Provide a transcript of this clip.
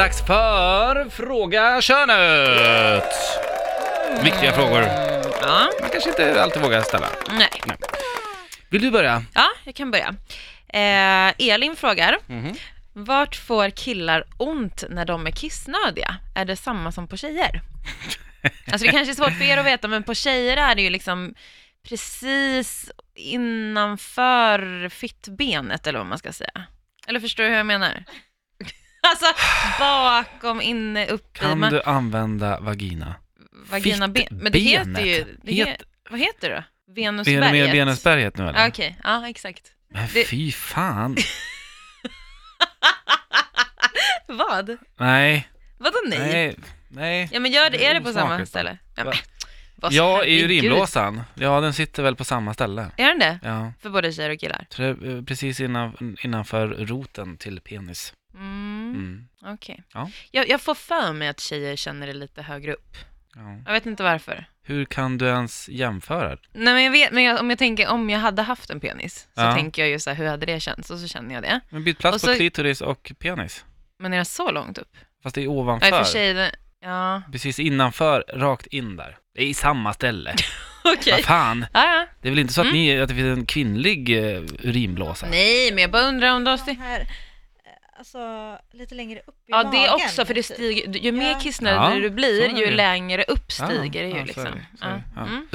Dags för Fråga könet! Viktiga frågor. Ja, Man kanske inte alltid vågar ställa. nej. Vill du börja? Ja, jag kan börja. Eh, Elin frågar, vart får killar ont när de är kissnödiga? Är det samma som på tjejer? Alltså det kanske är svårt för er att veta, men på tjejer är det ju liksom precis innanför fittbenet eller vad man ska säga. Eller förstår du hur jag menar? Alltså bakom, inne, upp i, Kan man, du använda vagina? vagina, ben. Men det heter ju, Fittbenet. det he, vad heter det då? Är du med Venusberget? i Venusberget nu Alltså, Ja, eller? Okej, ja exakt. Men det- fy fan. Vad? Nej. Vadå nej? Nej. Nej. Ja men gör det, är det på samma Osmakligt. ställe? Ja, Va? men, vad- Jag är ju herregud. rimblåsan. Ja, den sitter väl på samma ställe. Är den det? Ja. För både tjejer och killar? Tror jag, eh, Precis innan, innanför roten till penis. Mm, Mm. okej. Ja. Jag, jag får för mig att tjejer känner det lite högre upp. Ja. Jag vet inte varför. Hur kan du ens jämföra? Nej men jag vet, men jag, om jag tänker om jag hade haft en penis, så Ja. tänker jag ju så här, hur hade det känts? Och så känner jag det. Men byt plats Och på så- klitoris och penis. Men är det så långt upp? Fast det är Nej ovanför. för tjejer, ja Precis innanför, rakt in där. Det är i samma ställe. okej. Vad fan, Ja, ja. det är väl inte så att, ni, att det finns en kvinnlig eh, urinblåsa? Mm. Nej men jag bara undrar om de... de här, eh, alltså lite längre upp i Ja magen. det också, för det typ. stiger, ju Ja. mer kissnödig Ja, du så blir, är ju det. längre upp Ja, stiger det ja, ju så är liksom. det, så är det. Ja. Ja. Mm.